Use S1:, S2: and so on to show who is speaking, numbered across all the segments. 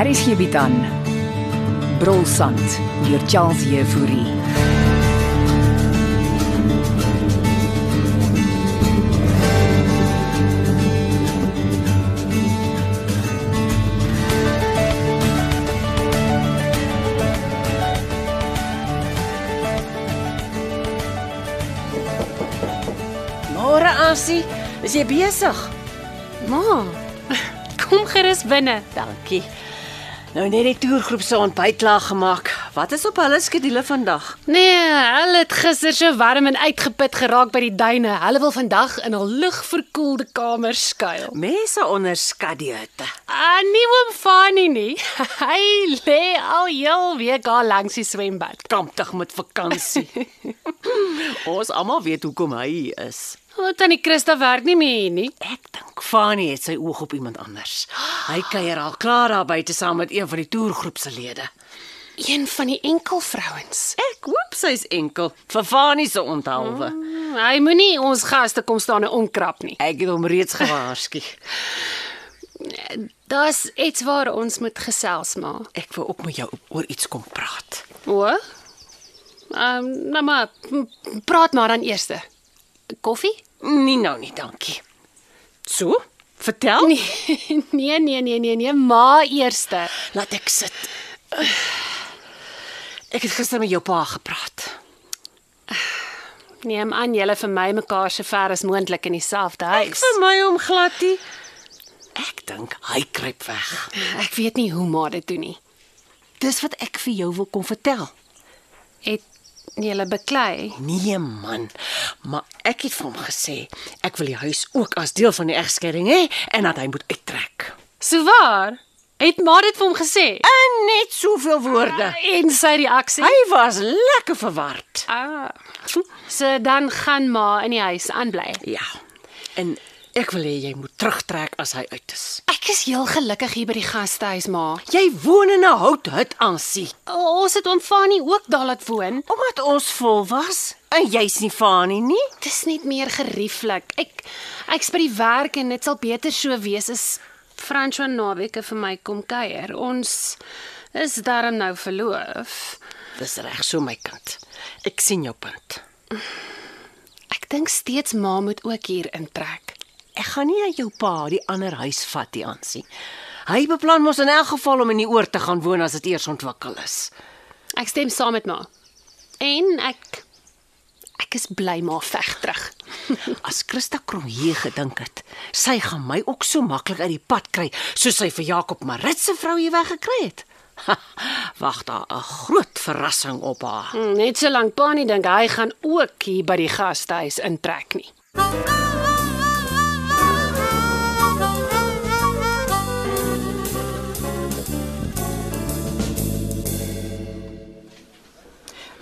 S1: Hier is hierby dan. Brolsand deur Charles Jefouri.
S2: Môre Asie, is jy besig?
S3: Ma, kom gerus binne.
S2: Dankie. Nou net die toergroep se ontbyt klaar gemaak. Wat is op hulle skedule vandag?
S3: Nee, hulle het gister so warm en uitgeput geraak by die duine. Hulle wil vandag in hul lugverkoelde kamer skuil.
S2: Mense onderskat die hitte.
S3: Ah, nie oom Fani nie. Hy lê al heel week al langs die swembad.
S2: Kamptig met vakansie. Ons almal weet hoekom hy hier is.
S3: O, tannie Christa werk nie meer hier nie.
S2: Ek dink Fanie het sy oog op iemand anders. Hy kuier al klaar daar buite saam met een van die toergroep se lede.
S3: Een van die enkel vrouens.
S2: Ek hoop sy's enkel vir Fanie se onthaalwe.
S3: Hmm, Hy moenie ons gaste kom staan en omkrap nie.
S2: Ek het hom reeds gewaarsku.
S3: Daar's iets waar ons moet gesels maar.
S2: Ek wou ook met jou oor iets kom praat.
S3: O. Ehm, nou maar m- praat maar dan eers. Koffie?
S2: Nee nou nie, dankie. So, vertel. Nee.
S3: nee, nee, nee, nee, nee, ma eerste.
S2: Laat ek sit. Ek het gister met jou pa gepraat.
S3: Neem Nee, aan julle vir my mekaar so ver as moontlik in dieselfde huis.
S2: my om gladie. Ek dink hy kruip weg.
S3: Ek weet nie hoe ma dit doen nie.
S2: Dis wat ek vir jou wil kom vertel.
S3: Het julle beklei?
S2: Nee man, maar ek het vir hom gesê ek wil die huis ook as deel van die egskeiding hê en dat hy moet uittrek.
S3: Sou waar? Het ma dit vir hom gesê?
S2: En net soveel woorde.
S3: Ja, En sy reaksie?
S2: Hy was lekker verward.
S3: Ah. So dan gaan ma in die huis aanbly.
S2: Ja. En ek wil hê jy moet terugtrek as hy uit is.
S3: Ek is heel gelukkig hier by die gastehuis, ma.
S2: Jy woon in 'n houthut aan see.
S3: O, ons het oom Fanie ook daar laat woon.
S2: Omdat ons vol was en jy's nie Fanie nie.
S3: Dis net meer gerieflik. Ek ek's by die werk en dit sal beter so wees as Franco naweke vir my kom kuier. Ons is darm nou verloof.
S2: Dis reg so my kind. Ek sien jou punt.
S3: Ek dink steeds ma moet ook hier intrek.
S2: Ek gaan nie aan jou pa die ander huis vat nie, Ansie. Hy beplan mos in elk geval om in die oord te gaan woon as dit eers ontwikkel is.
S3: Ek stem saam met ma. En ek ek is bly ma veg terug.
S2: As Christa Kromhee gedink het, sy gaan my ook so maklik uit die pad kry soos sy vir Jakob Maritse vrou hier weggekry het. Ha, Wag daar 'n groot verrassing op haar.
S3: Hm, Net so lank pa nie dink hy gaan ook hier by die gastehuis intrek nie.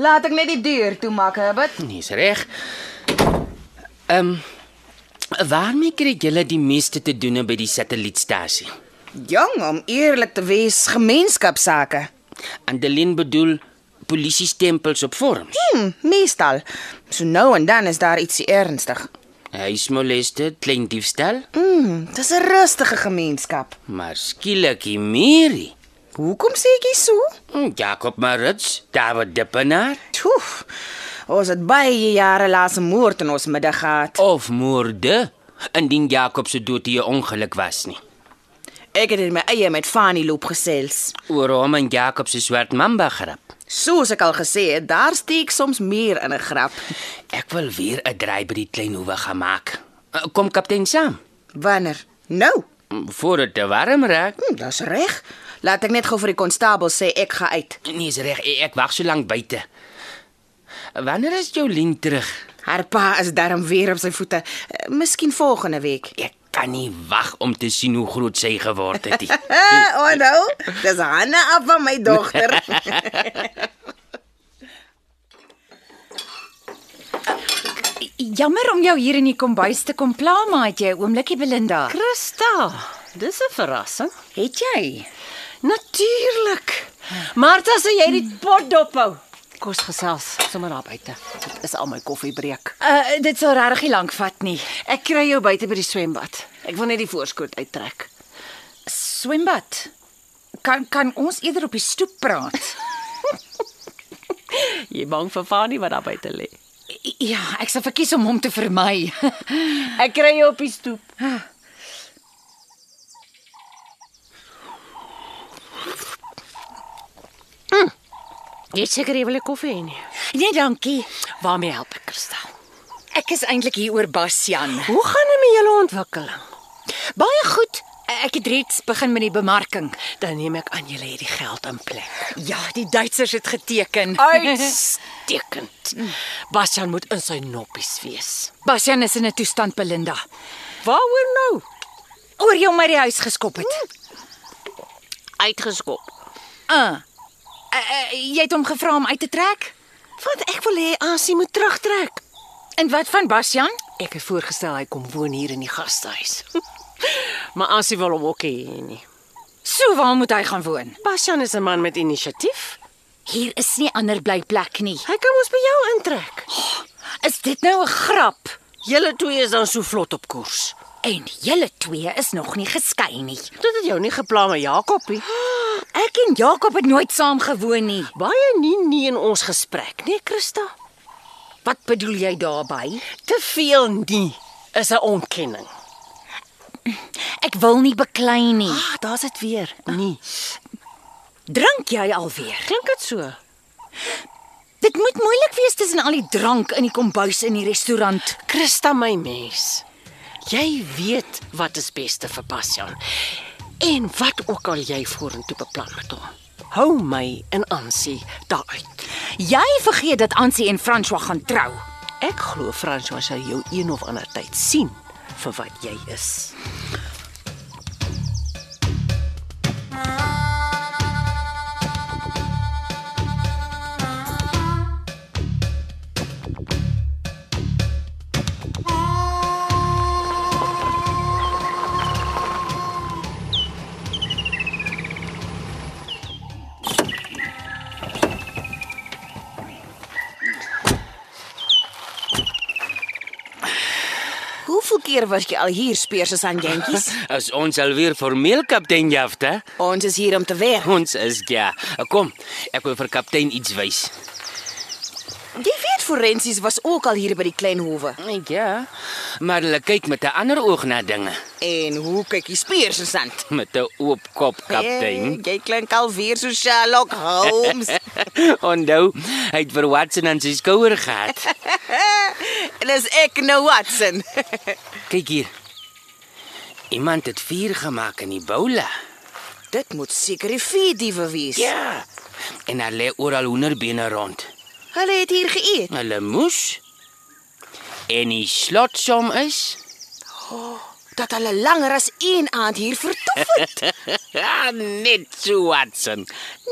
S4: Laat ek net die deur toemaak, Herbert.
S5: Dis reg. Ehm um, waarmee kry julle die meeste te doen by die satellietstasie?
S4: Jong, om eerlik te wees, gemeenskapsake.
S5: Andelin bedoel polisie stempels op vorms.
S4: Hm, meestal. So nou en dan is daar ietsie ernstig.
S5: Huismoleste, klein diefstal,
S4: Hm, dis 'n rustige gemeenskap.
S5: maar skielik hierie.
S4: Hoekom sê ek dit so?
S5: Jakob Marits, David Dippenaar
S4: Toef. Ons het baie jare laas 'n moord in ons middag gehad.
S5: of moorde indien Jakob se dood hier ongeluk was nie.
S4: Ek het in my eie met Fanny loop gesels.
S5: Oor hom en Jakob se swart mamba grap.
S4: Soos ek al gesê het, daar steek soms meer in 'n grap.
S5: Ek wil weer 'n draai by die klein hoewe gaan maak. Eh, Kom kaptein saam
S4: Wanneer? Nou.
S5: voor dit te warm raak.
S4: Hm, dis reg. Laat ek net gou vir die konstabel sê ek gaan uit.
S5: Nee, is reg. Ek ek wag so lank buite. Wanneer is Jolien terug?
S4: Haar pa is darm weer op sy voete. Eh, Miskien volgende week.
S5: Ek kan nie wag om te sien hoe groot sy geword het nie.
S4: Eh, oh nou, dis Hanna af van my dogter.
S6: Jammer om jou hier in die kombuis te kom pla, maatjie, oomblikie Belinda.
S2: Christa, Dis 'n verrassing.
S4: Het jy?
S2: Natuurlik. Martha, sê jy die pot dophou. Kos gesels sommer daar buite. Dit is al my koffiebreek.
S1: Uh dit sal regtig nie lank vat nie.
S2: Ek kry jou buite by die swembad. Ek wil net die voorskoot uittrek.
S1: Swembad. Kan kan ons eerder op die stoep praat?
S2: Jy bang vir Fanie wat daar buite lê.
S1: ja, ek sal verkies om hom te vermy.
S2: Ek kry jou op die stoep. Hm. Jy het seker jy wil 'n koffie hê nie.
S1: nee, dankie.
S2: Waarmee help ek, Kristal?
S1: Ek is eintlik hier oor Basjan.
S2: Hoe gaan dit met julle ontwikkeling?
S1: Baie goed. Ek het reeds begin met die bemarking.
S2: Dan neem ek aan julle het die geld in plek.
S1: Ja, die Duitsers het geteken.
S2: Uitstekend. Bastian Hm. moet in sy noppies wees.
S1: Basjan is in 'n toestand Belinda.
S2: Waaroor nou?
S1: Oor jou my die huis geskop het.
S2: Uitgeskop.
S1: Uh. Uh, uh jy het hom gevra om uit te trek?
S2: Want ek wil hê Asie moet terugtrek.
S1: En wat van Basjan?
S2: Ek het voorgestel hy kom woon hier in die gastehuis. maar Asie wil hom ook hê nie.
S1: So waar moet hy gaan woon?
S2: Bastian is 'n man met inisiatief.
S1: Hier is nie ander blyplek nie.
S2: Hy kan mos by jou intrek.
S1: Is dit nou 'n grap?
S2: Julle twee is dan so vlot op koers.
S1: En julle twee is nog nie geskei nie.
S2: Dit het jou nie gepla met Jakobie.
S1: Ek en Jakob het nooit saam gewoon nie.
S2: Baie nie nie in ons gesprek, nee Christa.
S1: Wat bedoel jy daarby?
S2: Te veel nie is 'n ontkenning.
S1: Ek wil nie beklei nie.
S2: Ah, daar's dit weer. Nee.
S1: Drink jy alweer?
S2: Klink dit so?
S1: Dit moet moeilik wees tussen al die drank in die kombuis en die restaurant.
S2: Christa my mens. Jy weet wat is beste vir Bastian. En wat ook al jy vorentoe beplan met hom. Hou my in aansie daaruit.
S1: Jy vergeet dat Ansie en François gaan trou.
S2: Ek glo François sal jou een of ander tyd sien vir wat jy is.
S4: Hoeveel keer was jy al hier speurs as aan jentjies?
S5: As ons alweer formeel kaptein jaft, hè?
S4: Ons is hier om te werk.
S5: Ons is ja. Kom, ek wil vir kaptein iets wys.
S4: Jy weet forensies was ook al hier by die klein howe.
S5: Ja. Maar hulle kyk met 'n ander oog na dinge,
S4: En hoe kyk jy speurs as aan?
S5: met 'n oop kop kaptein.
S4: Jy klink al weer so Sherlock Holmes.
S5: Onthou, hy het vir Watson aan sy skouer gehad.
S4: en dis ek nou Watson.
S5: Kyk hier. Iemand het vuur gemaak in die boule.
S4: Dit moet seker die vier diewe wees.
S5: Ja. En daar lê oral hoenderbene rond.
S4: Hulle het hier geëet.
S5: Hulle moes en die slotsom is
S4: Dat hulle langer as een aand hier vertoef het.
S5: ja, net so Watson.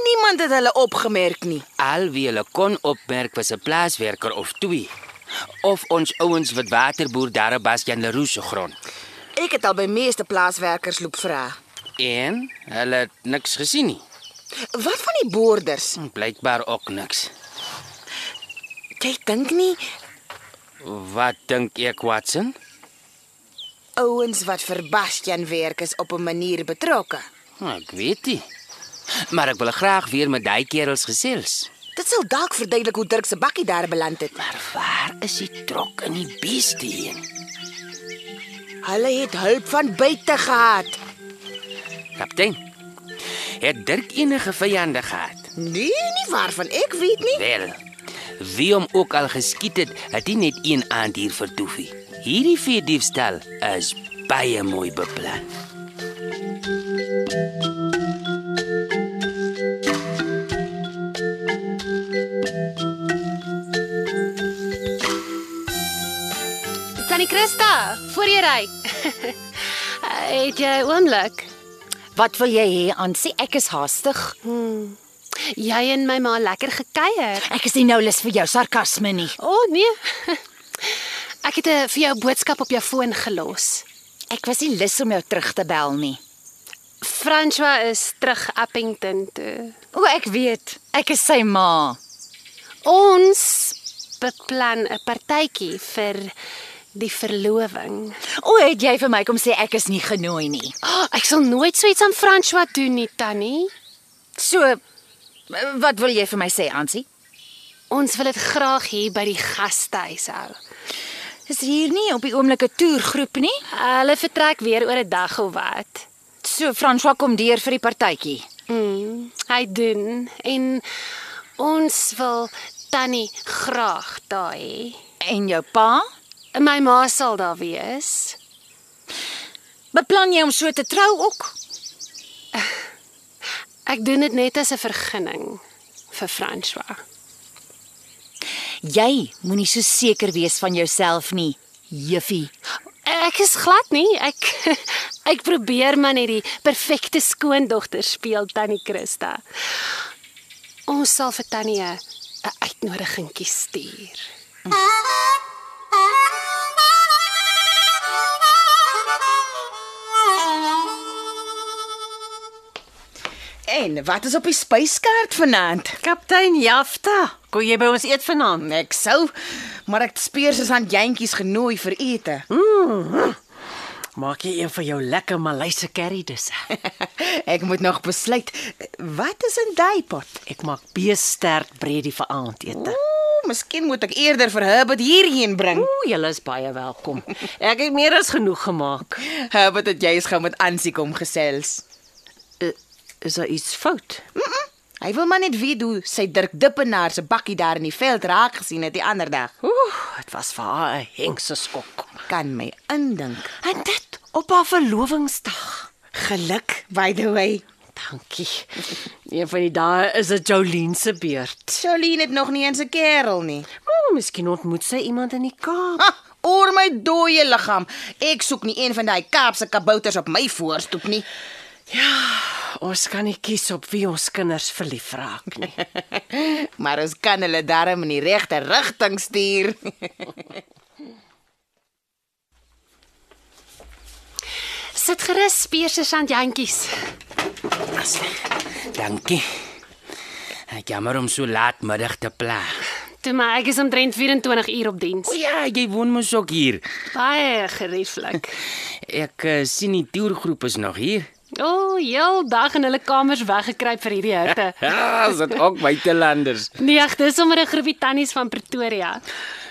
S4: Niemand het hulle opgemerk nie.
S5: Al wie hulle kon opmerk was 'n plaaswerker of twee. Of ons ouens wat waterboer daar op Basjan Leroux se grond.
S4: Ek het al by meeste plaaswerkers loop vra.
S5: En hulle het niks gesien nie.
S4: Wat van die boorders?
S5: Blykbaar ook niks.
S4: Jy dink nie
S5: Wat dink ek Watson?
S4: ouens wat vir Bastian werk is op 'n manier betrokke.
S5: Nou, Ek weet nie. Maar ek wil graag weer met daai kerels gesels.
S4: Dit sal dalk verduidelik hoe Dirk se bakkie daar beland het.
S5: Maar waar is die trok in die beeste heen?
S4: Hulle het hulp van buite gehad.
S5: Kaptein. Het Dirk enige vyande gehad?
S4: Nee, nie waarvan ek weet nie.
S5: Wel. Wie hom ook al geskiet het, het hy net een aand hier vertoef. nie. Hierdie veediefstal is baie mooi beplan.
S3: Tannie Christa, voor jy ry. Het jy 'n oomblik?
S1: Wat wil jy hê, Ansie? Ek is haastig.
S3: Hmm. Jy en my ma lekker gekuier.
S1: Ek is nie nou lus vir jou sarkasme nie.
S3: O oh, nee. eh, Ek het 'n vir jou boodskap op jou foon gelos.
S1: Ek was nie lus om jou terug te bel nie.
S3: François is terug Appington toe.
S1: O, ek weet. Ek is sy ma.
S3: Ons beplan 'n partytjie vir die verloving.
S1: O, het jy vir my kom sê ek is nie genooi nie.
S3: Oh, ek sal nooit so iets aan François doen nie, Tannie.
S1: So wat wil jy vir my sê, Ansie?
S3: Ons wil dit graag hier by die gastehuis hou.
S1: Is hier nie op die oomblik 'n toergroep nie?
S3: Hulle vertrek weer oor 'n dag of wat.
S1: So François kom deur vir die partytjie.
S3: Mm, hy doen en ons wil Tannie graag daar hê.
S1: En jou pa?
S3: My ma sal daar wees.
S1: Beplan jy om so te trou ook?
S3: Ek doen dit net as 'n vergunning vir François.
S1: Jy moenie so seker wees van jouself nie, Juffie.
S3: Ek is glad nie. Ek ek probeer maar net die perfekte skoondogter speel Tannie Christa. Ons sal vir Tannie 'n 'n uitnodigingkie stuur.
S4: En wat is op die spyskaart vanaand?
S2: Kaptein Jafta, kom jy by ons eet vanaand?
S4: Ek sou, maar ek speurs is aan jentjies genooi vir ete.
S2: Maak jy een van jou lekker Maleise curry disse.
S4: Ek moet nog besluit wat is in daai pot.
S2: Ek maak beesterk breedie vir aandete.
S4: Ooh, miskien moet ek eerder vir Herbert hierheen bring.
S2: Ooh, julle is baie welkom. Ek het meer as genoeg gemaak.
S4: Herbert het jy's gou met Ansie kom gesels.
S2: Is daar iets fout?
S4: Hy wil maar net weet hoe sy Dirk Dippenaar se bakkie daar in die veld raak gesien het die ander dag.
S2: Ooh, dit was vir haar 'n hengse skok.
S4: Kan my indink.
S2: En dit op haar verlovingsdag.
S4: Geluk, by the way.
S2: Dankie. Een van die dae is dit Jolien se beurt.
S4: Jolene het nog nie eens 'n kerel nie.
S2: Maar miskien ontmoet sy iemand in die Kaap.
S4: Ha, oor my dooie liggaam. Ek soek nie een van daai Kaapse kabouters op my voorstoep nie.
S2: Ons kan nie kies op wie ons kinders verlief raak nie.
S4: maar ons kan hulle darm in die regte rigting stuur.
S3: Sit gerus speerse aan jantjies.
S5: Dankie. Ek jammer om so laat middag te pla.
S3: Toe maar ek is omtrent 24 uur op diens.
S5: O ja, jy woon mos ook hier.
S3: Baie gerieflik.
S5: Ek uh, sien die toergroep is nog hier.
S3: O, oh, heel dag in hulle kamers weggekruip vir hierdie hitte.
S5: Ja, is dit ook buitelanders.
S3: Nee, ag, dis sommer 'n groepie tannies van Pretoria.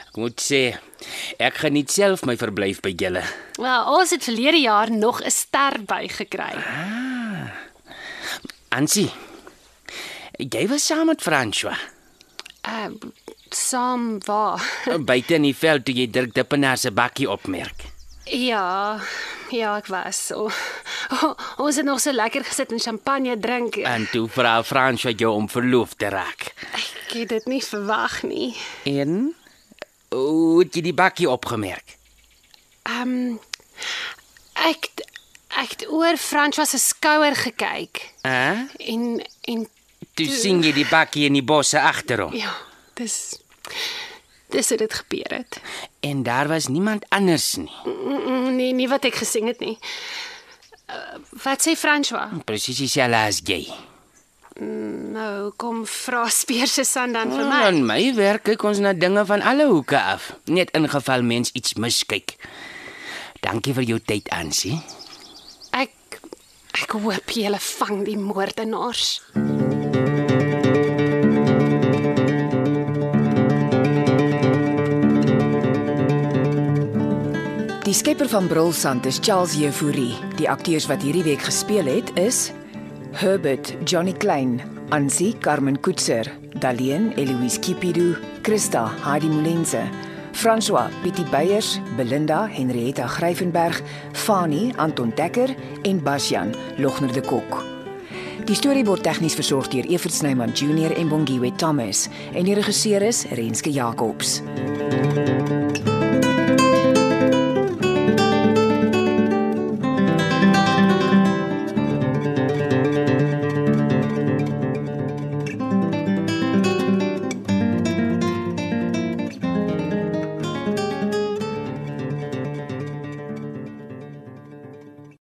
S5: Ek moet sê, ek geniet self my verblyf by julle.
S3: Wel, ons het verlede jaar nog 'n ster by gekry.
S5: Ansie. Jy was saam met François
S3: Ehm uh, saam waar.
S5: buite in die veld toe jy Dirk Dippenaar se bakkie opmerk.
S3: Ja, ja, ek was. O, o, ons het nog so lekker gesit en champagne drink.
S5: En toe vra François jou om verloof te raak.
S3: Ek het dit nie verwag nie.
S5: En hoe het jy die bakkie opgemerk?
S3: Ehm um, ek het- ek het oor François se skouer gekyk
S5: Hæ? Huh?
S3: en en
S5: Toe sien jy die bakkie in die bosse agter hom.
S3: ja, dis dis hoe dit gebeur het.
S5: En daar was niemand anders nie.
S3: Mm, mm, Nee, nie wat ek gesien het nie. Uh, wat sê François?
S5: Presies dieselfde as jy.
S3: Nou kom vra Speers se San dan vir my.
S5: Nou, In my werk kyk ons na dinge van alle hoeke af, net in geval mens iets miskyk. Dankie vir jou tyd, Ansie.
S3: Ek ek hoop jy vang die moordenaars.
S6: Die skepper van Brulsand is Charles Jefouri. Die akteurs wat hierdie week gespeel het is Herbert Johnny Klein, Ansie Carmen Koetser, Daleen Eloise Kipidu, Christa Heidi Molense, François Pietie Beyers, Belinda Henrietta Gryvenberg, Fani Anton Dekker en Basjan Logner de Kok. Die storie word tegnies versorg deur Evert Snyman Junior en Bongwe Thomas en die regisseur is Renske Jacobs.